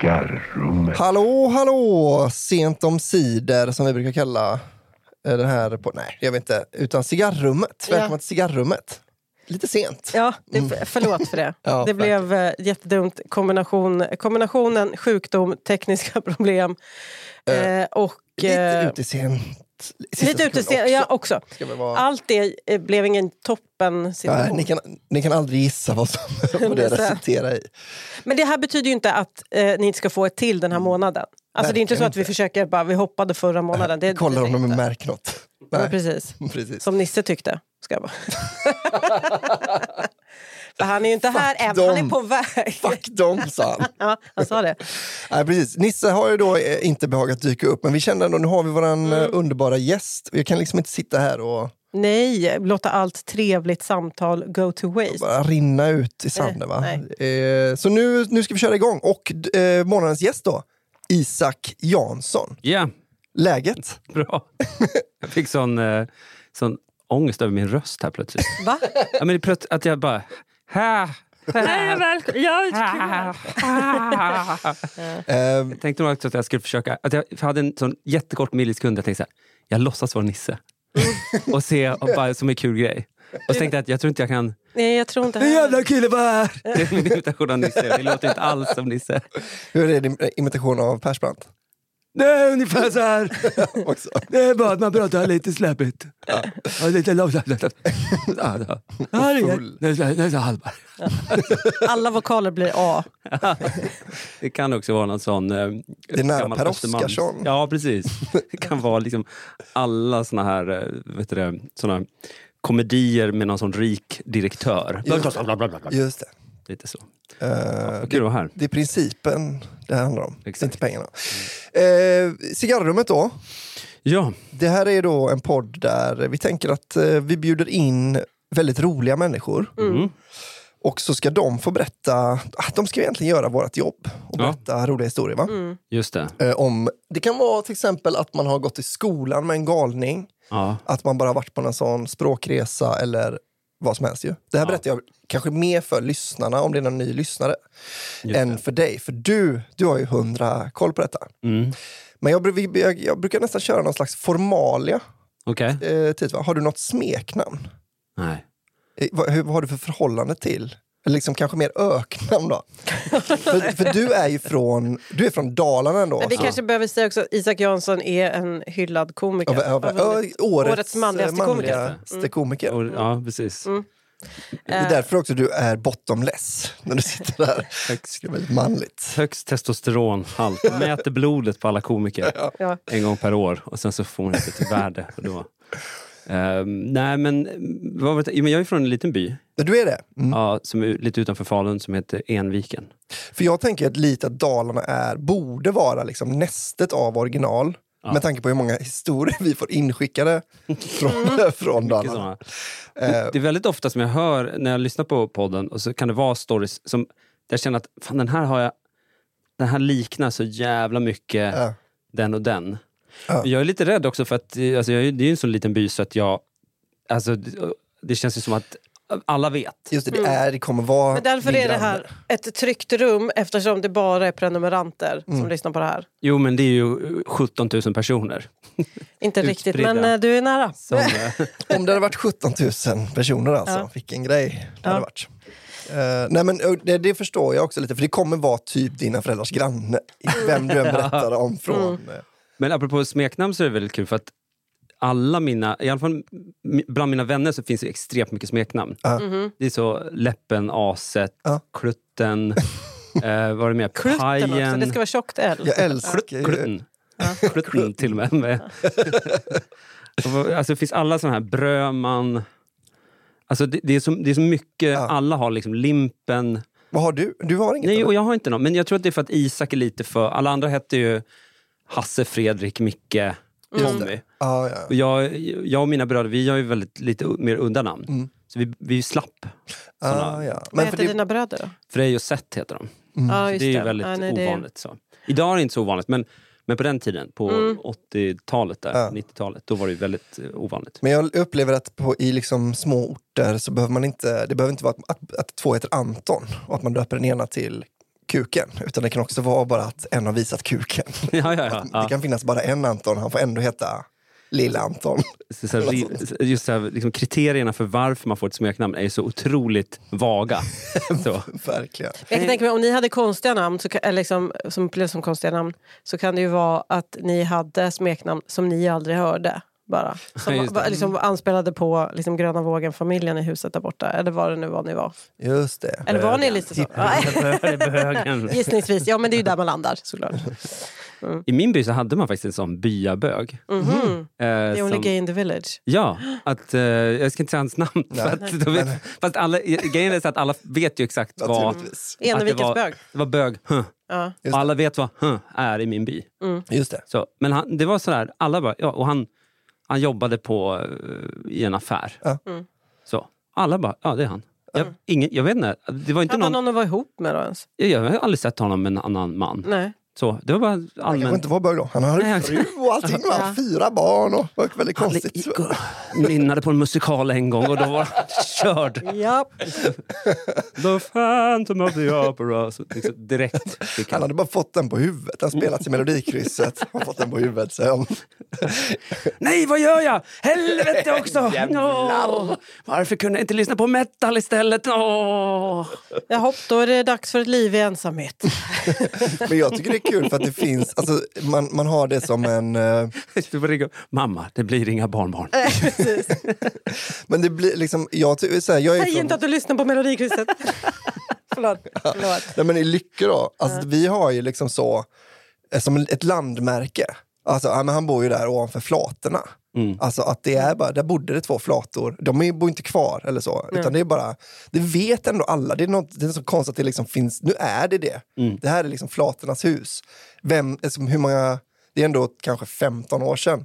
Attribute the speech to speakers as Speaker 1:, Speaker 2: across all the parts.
Speaker 1: Gitarrrummet.
Speaker 2: Hallå, hallå! Sent om cider som vi brukar kalla eh, den här på. Nej, jag vet inte. Utan cigarrummet.
Speaker 3: Ja.
Speaker 2: Välkomna till cigarrummet. Lite sent.
Speaker 3: Ja, det, förlåt för det.
Speaker 2: Mm. Ja,
Speaker 3: det blev eh, jättedumt. Kombination, kombinationen sjukdom, tekniska problem eh, och...
Speaker 2: Lite
Speaker 3: eh,
Speaker 2: ute sent. sista
Speaker 3: Lite
Speaker 2: sekund
Speaker 3: utestängt, ja också.
Speaker 2: Ska vi vara...
Speaker 3: Allt det eh, blev ingen toppen
Speaker 2: Nej,
Speaker 3: situation.
Speaker 2: ni, kan, ni kan aldrig gissa vad, som, vad det
Speaker 3: Det är så.
Speaker 2: resulterar i.
Speaker 3: Men det här betyder ju inte att eh, ni inte ska få ett till den här månaden. Alltså det är inte
Speaker 2: Mm. Verkligen
Speaker 3: så att vi
Speaker 2: inte.
Speaker 3: försöker bara, vi hoppade förra månaden. Det,
Speaker 2: Kollar
Speaker 3: det,
Speaker 2: om de
Speaker 3: inte.
Speaker 2: märker något.
Speaker 3: Ja,
Speaker 2: Nej,
Speaker 3: precis.
Speaker 2: precis.
Speaker 3: Som Nisse tyckte. Ska jag bara. För han är ju inte här än, han
Speaker 2: dem.
Speaker 3: är på väg.
Speaker 2: Fuck dem, sa han.
Speaker 3: Ja, han sa det.
Speaker 2: Nej, precis. Nisse har ju då eh, inte behagat dyka upp, men vi kände ändå nu har vi vår
Speaker 3: Mm.
Speaker 2: underbara gäst. Vi kan liksom inte sitta här och
Speaker 3: Nej, låta allt trevligt samtal go to waste.
Speaker 2: bara rinna ut i sanden. Va? Eh, så nu, nu ska vi köra igång. Och d- eh, månadens gäst då, Isak Jansson.
Speaker 4: Ja,
Speaker 2: Läget?
Speaker 4: bra. Jag fick sån, eh, sån ångest över min röst här plötsligt.
Speaker 3: Va?
Speaker 4: Ja, men plöts att jag bara... Ha,
Speaker 5: Nej, välkommen.
Speaker 4: ha, ha.
Speaker 2: Eh,
Speaker 4: Jag tänkte nog också att jag skulle försöka... Att jag, för jag hade en sån jättekort millisekund. Jag tänkte så här, jag låtsas vara Nisse. och se och bara, som en kul grej. Och så tänkte jag att jag tror inte jag kan...
Speaker 3: Nej, jag tror inte
Speaker 4: En
Speaker 3: heller.
Speaker 4: jävla kille var här! Det är min imitation av Nisse. Det låter inte alls som Nisse.
Speaker 2: hur är din eh, imitation av Persbrandt?
Speaker 4: Det är ungefär så här.
Speaker 2: Också.
Speaker 4: Det är bara att man pratar lite släpigt. Ja. Ja, lite långsamt. Ja, ja. Ja, det är- det är så- det är så halva.
Speaker 3: Alla vokaler blir A.
Speaker 4: Det kan också vara någon sån... eh,
Speaker 2: nära
Speaker 4: gammal
Speaker 2: Per
Speaker 4: Östermalms-
Speaker 2: Oscarsson.
Speaker 4: Ja, precis. Det kan vara liksom alla såna här eh, vet du det, såna komedier med någon sån rik direktör.
Speaker 2: Just Just det.
Speaker 4: Lite så.
Speaker 2: Eh,
Speaker 4: Vad kul att vara här.
Speaker 2: Det är principen det här handlar om,
Speaker 4: Exakt. Mm.
Speaker 2: inte pengarna. Eh, cigarrummet då.
Speaker 4: Ja,
Speaker 2: Det här är då en podd där vi tänker att eh, vi bjuder in väldigt roliga människor.
Speaker 4: Mm.
Speaker 2: Och så ska de få berätta, ah, de ska egentligen göra vårt jobb och
Speaker 4: Ja.
Speaker 2: berätta roliga historier. Va?
Speaker 4: just det.
Speaker 2: Eh, om, det kan vara till exempel att man har gått i skolan med en galning,
Speaker 4: Ja.
Speaker 2: att man bara har varit på en sån språkresa eller vad som helst. Ju. Det här berättar jag kanske mer för lyssnarna, om det är någon ny lyssnare, än för dig. För du, du har ju hundra koll på detta.
Speaker 4: Mm.
Speaker 2: Men jag, bru- vi- jag, jag brukar nästan köra någon slags formalia.
Speaker 4: Okej.
Speaker 2: Eh, tid, va? Har du något smeknamn?
Speaker 4: Nej.
Speaker 2: Eh, vad, hur, vad har du för förhållande till? Eller liksom kanske mer öknamn då? för, för du är ju från, du är från Dalarna ändå.
Speaker 3: Men vi
Speaker 4: Alltså.
Speaker 2: så-
Speaker 3: kanske behöver säga också att Isak Jansson är en hyllad komiker. Alltså,
Speaker 2: Av, av,
Speaker 3: Har
Speaker 2: av,
Speaker 3: vunnit.
Speaker 2: årets, eh,
Speaker 3: årets manligaste Mm.
Speaker 2: manligaste komiker.
Speaker 4: Och, ja, precis.
Speaker 2: Mm. Det
Speaker 3: Eh.
Speaker 2: är därför också du är bottomless när du sitter där. Det är väldigt manligt.
Speaker 4: Högst testosteronhalt. Mäter blodet på alla komiker
Speaker 3: Ja.
Speaker 4: en gång per år och sen så får man ett litet värde. Då. Ehm, nej, men, vad var det? Jo, men jag är från en liten by
Speaker 2: Men du är det? Mm.
Speaker 4: ja, som är lite utanför Falun som heter Enviken.
Speaker 2: För jag tänker att lite att Dalarna är, borde vara liksom nästet av original. Med tanke på hur många historier vi får inskickade från, från
Speaker 4: Det är
Speaker 2: Dalarna.
Speaker 4: såna-
Speaker 2: Eh,
Speaker 4: Det är väldigt ofta som jag hör när jag lyssnar på podden och så kan det vara stories som där jag känner att fan, den här har jag den här liknar så jävla mycket
Speaker 2: Ja.
Speaker 4: den och den.
Speaker 2: Ja.
Speaker 4: Jag är lite rädd också för att eh, alltså, jag, är- det är ju en sån liten by så att jag... Alltså, det- det känns ju som att alla vet.
Speaker 2: Just det, det, är, det kommer vara
Speaker 3: Mm. Men därför
Speaker 2: din
Speaker 3: är det
Speaker 2: granne.
Speaker 3: här ett tryggt rum eftersom det bara är prenumeranter
Speaker 4: Mm.
Speaker 3: som lyssnar på det här.
Speaker 4: Jo, men det är ju eh, 17 000 personer.
Speaker 3: Inte riktigt,
Speaker 4: Utspridda.
Speaker 3: men eh, du är nära.
Speaker 4: Som, eh,
Speaker 2: Om det hade varit 17 000 personer alltså,
Speaker 3: Ja.
Speaker 2: vilken grej det hade varit. Eh, nej men eh, det, det förstår jag också lite, för det kommer vara typ dina föräldrars granne, i vem du
Speaker 3: Mm.
Speaker 2: än berättar om från. eh,
Speaker 4: men apropå smeknamn så är det väldigt kul för att alla mina, i alla fall m- bland mina vänner så finns det extremt mycket smeknamn. Mm-hmm.
Speaker 2: Ja.
Speaker 4: Det är så Läppen, Aset,
Speaker 2: Ja.
Speaker 4: Klutten, eh, vad är det mer?
Speaker 3: Klutten också, det
Speaker 4: Pajen.
Speaker 3: ska vara tjockt L.
Speaker 2: Jag älskar ju...
Speaker 4: Klutten. Klutten till och med. med. Och vad- alltså, det finns alla såna här Bröman. Alltså, det, det, är så, det är så mycket, alla har liksom Limpen.
Speaker 2: Vad har du? Du har inget?
Speaker 4: Nej,
Speaker 2: eller?
Speaker 4: och jag har inte någon. Men jag tror att det är för att Isak är lite för... Alla andra hette ju Hasse, Fredrik, Micke, Tommy.
Speaker 2: Ah, Ja, ja.
Speaker 4: Och jag, jag och mina bröder, vi har ju väldigt lite u- mer undanamn. Så vi, vi är ju slapp.
Speaker 2: Ah, ja.
Speaker 3: Vad
Speaker 2: Men för
Speaker 3: heter
Speaker 2: det,
Speaker 3: dina bröder då?
Speaker 4: Frej och Seth heter de.
Speaker 3: Ja, just
Speaker 4: Så Mm. det är ju väldigt
Speaker 3: Ja, nej, det är-
Speaker 4: ovanligt. Så. Idag är det inte så ovanligt, men, men på den tiden, på 80-talet, där, 90-talet, då var det ju väldigt eh, ovanligt.
Speaker 2: men jag upplever att på, i liksom små orter så behöver man inte, det behöver inte vara att, att, att två heter Anton och att man döper den ena till kuken, utan det kan också vara bara att en har visat kuken.
Speaker 4: Ja, ja, ja.
Speaker 2: Det
Speaker 4: ja.
Speaker 2: kan finnas bara en Anton, han får ändå heta Lilla Anton.
Speaker 4: Så, så här, ri- just så här, liksom, kriterierna för varför man får ett smeknamn är ju så otroligt vaga. Så.
Speaker 2: Verkligen.
Speaker 3: Jag kan tänka mig, om ni hade konstiga namn, så, kan- eller liksom, som upplevs som konstiga namn, så kan det ju vara att ni hade smeknamn som ni aldrig hörde. Bara. Som
Speaker 4: Ja, just det.
Speaker 3: var- liksom, anspelade på liksom, Gröna vågen-familjen i huset där borta. Eller vad det nu var ni var.
Speaker 2: Just det.
Speaker 3: Eller var ni
Speaker 4: Eh,
Speaker 3: lite så? Nej,
Speaker 4: Bögen.
Speaker 3: Gissningsvis. Ja, men det är ju där man landar såklart.
Speaker 4: I min by så hade man faktiskt en sån byabög.
Speaker 3: Mhm.
Speaker 4: eh,
Speaker 3: The only gay in the village.
Speaker 4: Ja, att, eh, jag ska inte säga hans namn. för att, då vet, fast alla, grejen är så att alla vet ju exakt vad...
Speaker 2: Naturligtvis.
Speaker 4: att det
Speaker 3: Enevikens
Speaker 4: var-
Speaker 3: bög.
Speaker 4: Det var bög. Huh.
Speaker 3: Ja.
Speaker 2: Just
Speaker 4: Och alla vet vad huh är i min by.
Speaker 3: Mm.
Speaker 2: Just det.
Speaker 4: Så, men han, det var sådär, alla bara, ja, och han, han jobbade på, eh, i en affär.
Speaker 2: Ja.
Speaker 3: Mm.
Speaker 4: Så, alla bara, ja det är han. Jag, ingen, jag vet inte, det var inte
Speaker 3: Hade någon...
Speaker 4: någon,
Speaker 3: någon att vara ihop med då ens?
Speaker 4: Jag, jag har aldrig sett honom med en annan man.
Speaker 3: Nej.
Speaker 4: Så, det var bara
Speaker 2: Han kanske
Speaker 4: allmän...
Speaker 2: inte var bög då. Han hade
Speaker 4: Nej,
Speaker 2: ju fru och allting. va?
Speaker 3: Ja.
Speaker 2: Fyra barn och var väldigt konstigt.
Speaker 4: Nynnade på en musikal en gång och då var han körd.
Speaker 3: Ja.
Speaker 4: The Phantom of the Opera. Så, liksom, direkt fick
Speaker 2: Han
Speaker 4: han.
Speaker 2: hade bara fått den på huvudet. Han spelat i Melodikrysset och fått den på huvudet sen.
Speaker 4: Nej, vad gör jag? Helvete också! Nå, varför kunde jag inte lyssna på metal istället? Nå.
Speaker 3: Jaha, då är det dags för ett liv i ensamhet.
Speaker 2: Men jag tycker det är kul för att det finns, alltså, man, man har det som en... eh,
Speaker 4: Du får ringa. Mamma, det blir inga barnbarn.
Speaker 3: Precis.
Speaker 2: Men det blir liksom, jag, ty- så här, jag är
Speaker 3: Säg
Speaker 2: från,
Speaker 3: inte att du lyssnar på Melodikrysset. Förlåt. Förlåt.
Speaker 2: nej, men i Lycke då, alltså, vi har ju liksom så, eh, som ett landmärke. Alltså, ja, men han bor ju där ovanför flatorna. Alltså att det är bara, där bodde det två flator. De är, ju- bor inte kvar eller så. Utan det är bara, det vet ändå alla. Det är, något, det är så konstigt att det liksom finns, nu är det det. Det här är liksom flatornas hus. Vem, liksom, hur många, det är ändå kanske 15 år sedan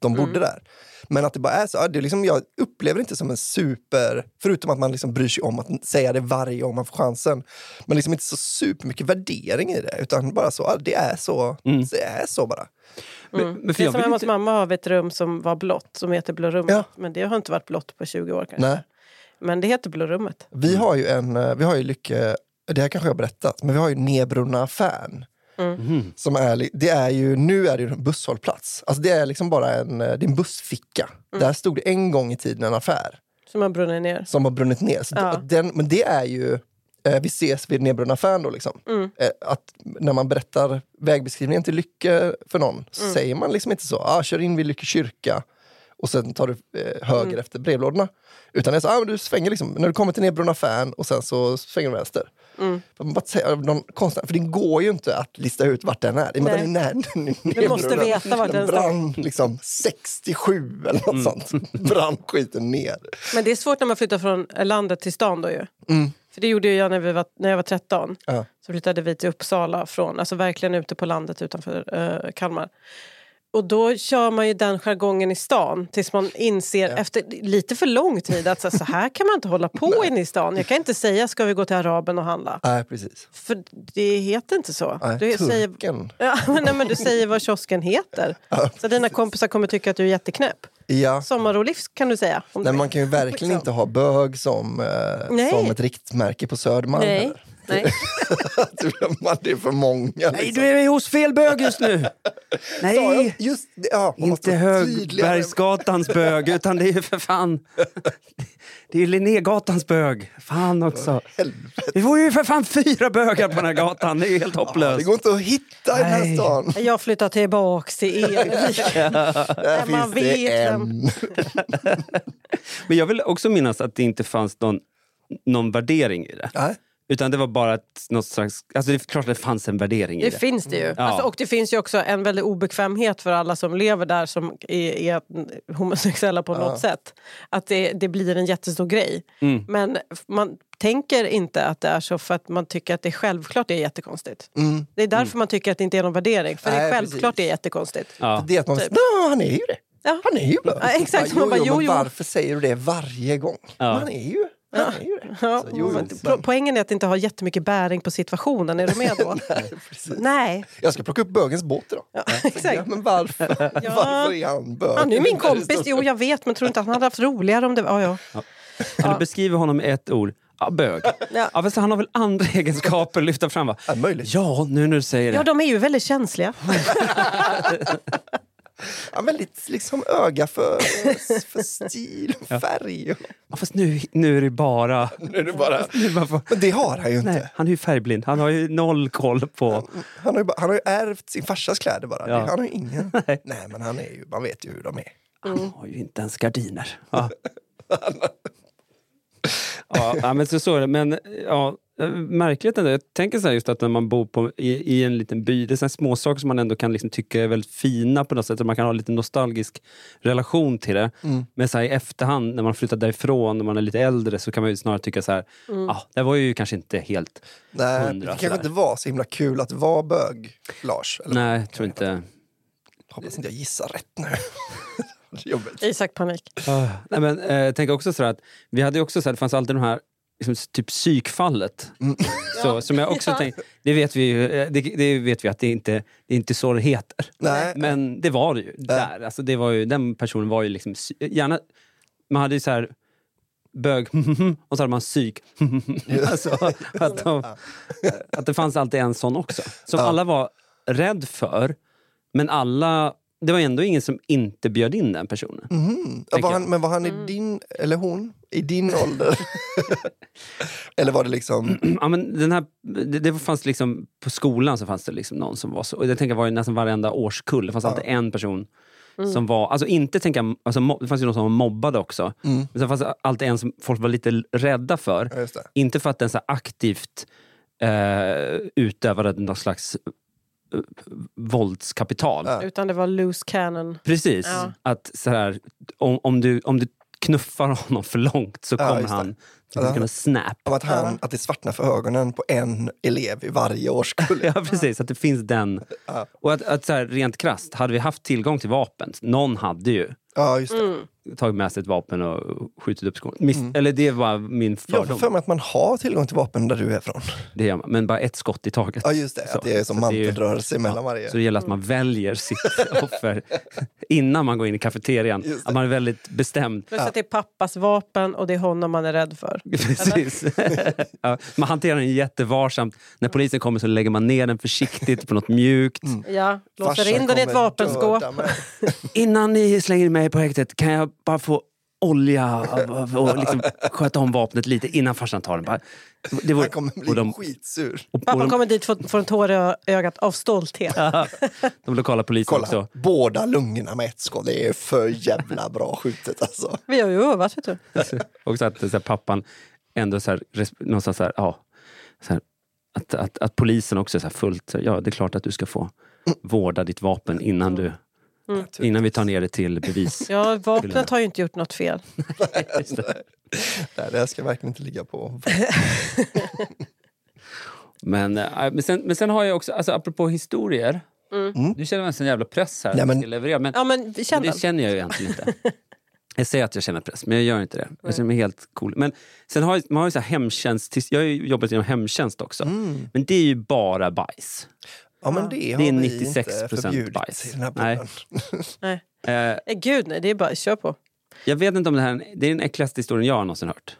Speaker 2: de bodde där. Men att det bara är så, ja, det är liksom, jag upplever det inte som en super, förutom att man liksom bryr sig om att säga det varje gång man får chansen, men liksom inte så supermycket värdering i det, utan bara så, ja, det är så, det är så bara.
Speaker 4: Men- men
Speaker 3: Det
Speaker 4: för
Speaker 3: är
Speaker 4: jag
Speaker 3: som
Speaker 4: vill
Speaker 3: hemma hos
Speaker 4: inte-
Speaker 3: mamma har vi ett rum som var blått, som heter Blå rummet.
Speaker 2: Ja.
Speaker 3: Men det har inte varit blått på 20 år kanske.
Speaker 2: Nej.
Speaker 3: Men det heter Blå rummet.
Speaker 2: Vi har ju en, eh, vi har ju Lycke, det här kanske jag har berättat, men vi har ju Nebrunna affären. Som är, li- det är ju, nu är det ju en busshållplats. Alltså det är liksom bara en, eh, det är en bussficka. Där stod det en gång i tiden en affär
Speaker 3: Som har brunnit ner.
Speaker 2: som har brunnit ner. Så
Speaker 3: Ja.
Speaker 2: d- den, men det är ju, eh, vi ses vid nedbrunna affären då liksom.
Speaker 3: Mm.
Speaker 2: Eh, att när man berättar vägbeskrivningen till Lycke för någon så
Speaker 3: Mm.
Speaker 2: säger man liksom inte så, ah, kör in vid Lycke kyrka och sen tar du eh, höger
Speaker 3: Mm.
Speaker 2: efter brevlådorna. Utan det är så, ah, men du svänger liksom, när du kommer till nedbrunna affären och sen så svänger du vänster.
Speaker 3: Mm.
Speaker 2: För Man bara säger, någon konstnär, för det går ju inte att lista ut vart den är. I och med att Den är när, den är nedbrunna.
Speaker 3: måste veta vart den står.
Speaker 2: brann liksom 67 eller något sånt. Brann skiten ner.
Speaker 3: Men det är svårt när man flyttar från landet till stan då ju.
Speaker 4: Mm.
Speaker 3: För det gjorde ju jag när, vi var, när jag var 13.
Speaker 2: Ja.
Speaker 3: Så flyttade vi till Uppsala från, alltså verkligen ute på landet utanför eh, Kalmar. Och då kör man ju den jargongen i stan tills man inser efter lite för lång tid att så här- så här kan man inte hålla på inne i stan. Jag kan inte säga ska vi gå till araben och handla.
Speaker 2: Nej, precis.
Speaker 3: För det heter inte så.
Speaker 2: Nej,
Speaker 3: du, säger,
Speaker 2: turken.
Speaker 3: ja, men, nej, men du säger vad kiosken heter. så dina kompisar kommer tycka att du är jätteknäpp.
Speaker 2: Ja.
Speaker 3: Sommarolivs kan du säga. om
Speaker 2: Nej,
Speaker 3: du
Speaker 2: man
Speaker 3: vill.
Speaker 2: kan ju verkligen inte ha bög som, eh,
Speaker 3: Liksom. Nej.
Speaker 2: som ett riktmärke på Södermalm.
Speaker 3: Nej.
Speaker 2: heller.
Speaker 3: Nej.
Speaker 2: Man- det är för många.
Speaker 4: Nej,
Speaker 2: liksom.
Speaker 4: du är hos fel bög just nu!
Speaker 2: Ja, jag-
Speaker 4: Nej,
Speaker 2: just, det, ja, man måste
Speaker 4: inte
Speaker 2: vara tydligare.
Speaker 4: Högbergsgatans bög, utan det är ju för fan... Det är ju Linnégatans bög. Fan också. Vi får ju för fan fyra bögar på den här gatan. Det är ju helt
Speaker 2: Ja, Det
Speaker 4: hopplöst.
Speaker 2: går inte att hitta i den här
Speaker 4: Nej.
Speaker 2: stan.
Speaker 3: Jag flyttar tillbaks till er.
Speaker 2: Där
Speaker 3: man
Speaker 2: finns det
Speaker 3: vet
Speaker 2: en.
Speaker 4: Men jag vill också minnas att det inte fanns någon, någon värdering i det.
Speaker 2: Nej.
Speaker 4: Utan det var bara ett, något slags... Alltså det är klart att det fanns en värdering i
Speaker 3: Det
Speaker 4: det.
Speaker 3: finns det ju. Alltså, och det finns ju också en väldig obekvämhet för alla som lever där som är, är homosexuella på något sätt. Att det, det blir en jättestor grej. Men f- man tänker inte att det är så för att man tycker att det självklart är jättekonstigt. Det är därför man tycker att det inte är någon värdering. För det
Speaker 2: Mm. Nej,
Speaker 3: är självklart det är jättekonstigt.
Speaker 4: Ja.
Speaker 2: Det är att man typ. han är ju det.
Speaker 3: Ja.
Speaker 2: Han är ju bög.
Speaker 3: Ja, exakt. Man
Speaker 2: jo,
Speaker 3: bara,
Speaker 2: jo,
Speaker 3: jo,
Speaker 2: men
Speaker 3: jo.
Speaker 2: varför säger du det varje gång? Han är ju, han är ju det.
Speaker 3: Ja,
Speaker 2: Så, jo, jo,
Speaker 3: men po-
Speaker 2: men-
Speaker 3: Poängen är att inte ha jättemycket bäring på situationen. Är du med då?
Speaker 2: Nej, precis.
Speaker 3: Nej.
Speaker 2: Jag ska plocka upp bögens båt idag.
Speaker 3: Ja,
Speaker 2: Ja,
Speaker 3: exakt.
Speaker 2: men varför?
Speaker 3: Ja.
Speaker 2: Varför är han bög?
Speaker 3: Han är ju min
Speaker 2: Det är så
Speaker 3: kompis. Jo, jag vet, men tror inte att han hade haft roligare om det var... Ja, ja.
Speaker 4: Kan du beskriva honom med ett ord? Ja, bög.
Speaker 3: Ja.
Speaker 4: ja. fast han har väl andra egenskaper att lyfta fram? Va?
Speaker 2: Ja, möjligt.
Speaker 4: Ja, nu när du säger det.
Speaker 3: Ja, de är ju väldigt känsliga.
Speaker 2: Ja, väldigt liksom öga för, för stil och färg. Och,
Speaker 4: Ja, fast nu, nu är det bara...
Speaker 2: nu är det bara...
Speaker 4: Nu är det bara för...
Speaker 2: Men det har han ju inte.
Speaker 4: Nej, han är ju färgblind. Han har ju noll koll på...
Speaker 2: Han har, ju bara, han har ju ärvt sin farsas kläder bara.
Speaker 4: Ja.
Speaker 2: Han har ju ingen. Nej. men han är ju, man vet ju hur de är.
Speaker 4: Han har ju inte ens gardiner. Ja. ja, ja, men så, så är det. Men ja, märkligt ändå. Jag tänker så här just att när man bor på, i, i en liten by, det är så här små saker som man ändå kan liksom tycka är väldigt fina på något sätt. och Man kan ha lite nostalgisk relation till det.
Speaker 2: Mm.
Speaker 4: Men så här, i efterhand, när man flyttar därifrån, när man är lite äldre, så kan man ju snarare tycka så här,
Speaker 2: Mm.
Speaker 4: ah, det var ju kanske inte helt
Speaker 2: Nej, det
Speaker 4: hundra.
Speaker 2: kanske
Speaker 4: sådär."
Speaker 2: inte var så himla kul att vara bög, Lars. Eller,
Speaker 4: Nej, jag tror inte.
Speaker 2: Hoppas inte jag gissar rätt nu. Det är Jobbigt.
Speaker 3: Isak panik.
Speaker 4: Ah, Nej, men, eh, jag tänker också sådär att vi hade ju också sådär, det fanns alltid de här liksom, typ psykfallet. Så, Som jag också
Speaker 3: Ja.
Speaker 4: tänkte, det vet vi ju eh, det, det vet vi att det inte det är inte så det heter.
Speaker 2: Nej.
Speaker 4: Men det var det ju. Där. Alltså, det var ju den personen var ju liksom psy- gärna, man hade ju så här bög och så hade man psyk. alltså, att, de, eh, att det fanns alltid en sån också. Som alla var rädd för, men alla det var ändå ingen som inte bjöd in den personen.
Speaker 2: Ja, var
Speaker 4: jag.
Speaker 2: han, men var han i din, eller hon, i din ålder? eller var det liksom...
Speaker 4: Ja, men den här, det, det fanns liksom, på skolan så fanns det liksom någon som var så. Och Jag tänker det var ju nästan varenda årskull. Det fanns alltid en person
Speaker 2: Mm.
Speaker 4: som var... Alltså inte tänka, alltså, mo- det fanns ju någon som mobbade också. Men sen fanns det alltid en som folk var lite rädda för.
Speaker 2: Mm. Ja, just det.
Speaker 4: Inte för att den så här aktivt eh, utövade någon slags eh, våldskapital.
Speaker 3: Utan det var loose cannon.
Speaker 4: Precis.
Speaker 3: Ja.
Speaker 4: Att så här, om, om, du, om du knuffar honom för långt så kommer
Speaker 2: just det.
Speaker 4: han... Så han
Speaker 2: Ja.
Speaker 4: kunna snap.
Speaker 2: Av att, han, att det svartnar för ögonen på en elev i varje årskull.
Speaker 4: Ja, precis. Att det finns den. Och att, att så här, rent krasst, hade vi haft tillgång till vapen, någon hade ju
Speaker 2: Ja, just det.
Speaker 4: tagit med sig ett vapen och skjutit upp skolan. Miss, Eller det var min
Speaker 2: Jag har
Speaker 4: fördom.
Speaker 2: Mm. för mig att man har tillgång till vapen där du är från.
Speaker 4: det gör man. Men bara ett skott i taget.
Speaker 2: Ja, just det. Mm.
Speaker 4: Så.
Speaker 2: Att det är som
Speaker 4: Så det är ju-
Speaker 2: mantelrörelse mellan varje...
Speaker 4: Så det gäller att man väljer sitt offer innan man går in i kafeterian.
Speaker 2: Just det.
Speaker 4: Att man är väldigt bestämd.
Speaker 3: Plus att det är pappas vapen och det är honom man är rädd för.
Speaker 4: Precis. ja, man hanterar den jättevarsamt. När polisen kommer så lägger man ner den försiktigt på något
Speaker 2: Mm.
Speaker 4: mjukt.
Speaker 3: Ja, låser
Speaker 2: Farsan
Speaker 3: in den i ett
Speaker 2: kommer
Speaker 3: vapenskåp.
Speaker 2: döda mig.
Speaker 4: innan ni slänger mig på häktet, kan jag bara få olja och- och liksom sköta om vapnet lite innan farsan tar den? Bara, det vore-
Speaker 2: Han kommer bli
Speaker 4: och de,
Speaker 2: skitsur.
Speaker 4: och, och
Speaker 3: Pappan
Speaker 4: de,
Speaker 3: kommer dit för, för en tår i ögat av stolthet.
Speaker 4: de lokala polisen
Speaker 2: Kolla,
Speaker 4: också.
Speaker 2: båda lungorna med ett skott. Det är för jävla bra skjutet alltså.
Speaker 3: Vi har ju övat, vet du.
Speaker 4: också att så här, pappan ändå så här, res- någonstans så här, ja, så här att, att, att polisen också är så här fullt, så här, ja det är klart att du ska få vårda ditt vapen innan, du, innan vi tar ner det till bevis.
Speaker 3: Ja, vapnet har ju inte gjort något fel.
Speaker 2: Nej, det här ska verkligen inte ligga på.
Speaker 4: Men, eh, men, sen, men sen har jag också, alltså, apropå historier, nu känner man en sån jävla press här.
Speaker 2: Mm. Nej, men-
Speaker 4: att jag ska leverera, men,
Speaker 3: Ja, men vi
Speaker 4: Men
Speaker 3: känner
Speaker 4: Det känner jag ju egentligen inte. Jag säger att jag känner press, men jag gör inte det. Jag känner mig helt cool. Men sen har jag- man har ju så här hemtjänst, jag har ju jobbat inom hemtjänst också. Men det är ju bara bajs.
Speaker 2: Mm. Ja, men det har
Speaker 4: Det är
Speaker 2: vi
Speaker 4: 96%
Speaker 2: inte förbjudit
Speaker 4: bajs.
Speaker 2: i den här
Speaker 4: Nej.
Speaker 2: podden.
Speaker 3: Nej.
Speaker 4: Eh,
Speaker 3: Eh, Gud, nej, det är bara kör på.
Speaker 4: jag vet inte om det här är- det är den äckligaste historien jag har någonsin hört.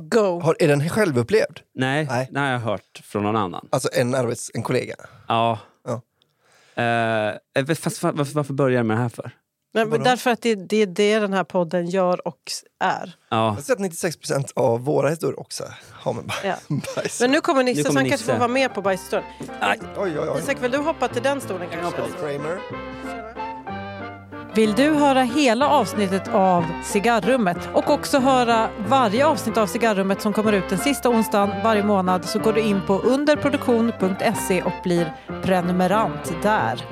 Speaker 3: Go!
Speaker 2: Har, är den självupplevd?
Speaker 4: Nej,
Speaker 2: Nej.
Speaker 4: den har jag hört från någon annan.
Speaker 2: Alltså en, arbets, en kollega?
Speaker 4: Ja.
Speaker 2: Ja.
Speaker 4: Eh, fast va- varför, varför börjar jag med det här för?
Speaker 3: Men, men därför att det, det är det den här podden gör och s- är.
Speaker 4: Ja.
Speaker 2: Jag har sett 96 av våra historier också har med baj-
Speaker 3: Ja.
Speaker 2: bajs.
Speaker 3: Men nu kommer Nisse,
Speaker 4: Nu kommer
Speaker 3: så han
Speaker 4: Nisse.
Speaker 3: kanske får vara med på bajsstolen.
Speaker 4: Aj.
Speaker 2: Oj, oj, oj.
Speaker 3: Isak, vill du hoppa till den stolen kanske?
Speaker 2: Kramer.
Speaker 3: Vill du höra hela avsnittet av Cigarrummet och också höra varje avsnitt av Cigarrummet som kommer ut den sista onsdagen varje månad så går du in på underproduktion.se och blir prenumerant där.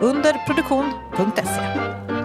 Speaker 3: Underproduktion.se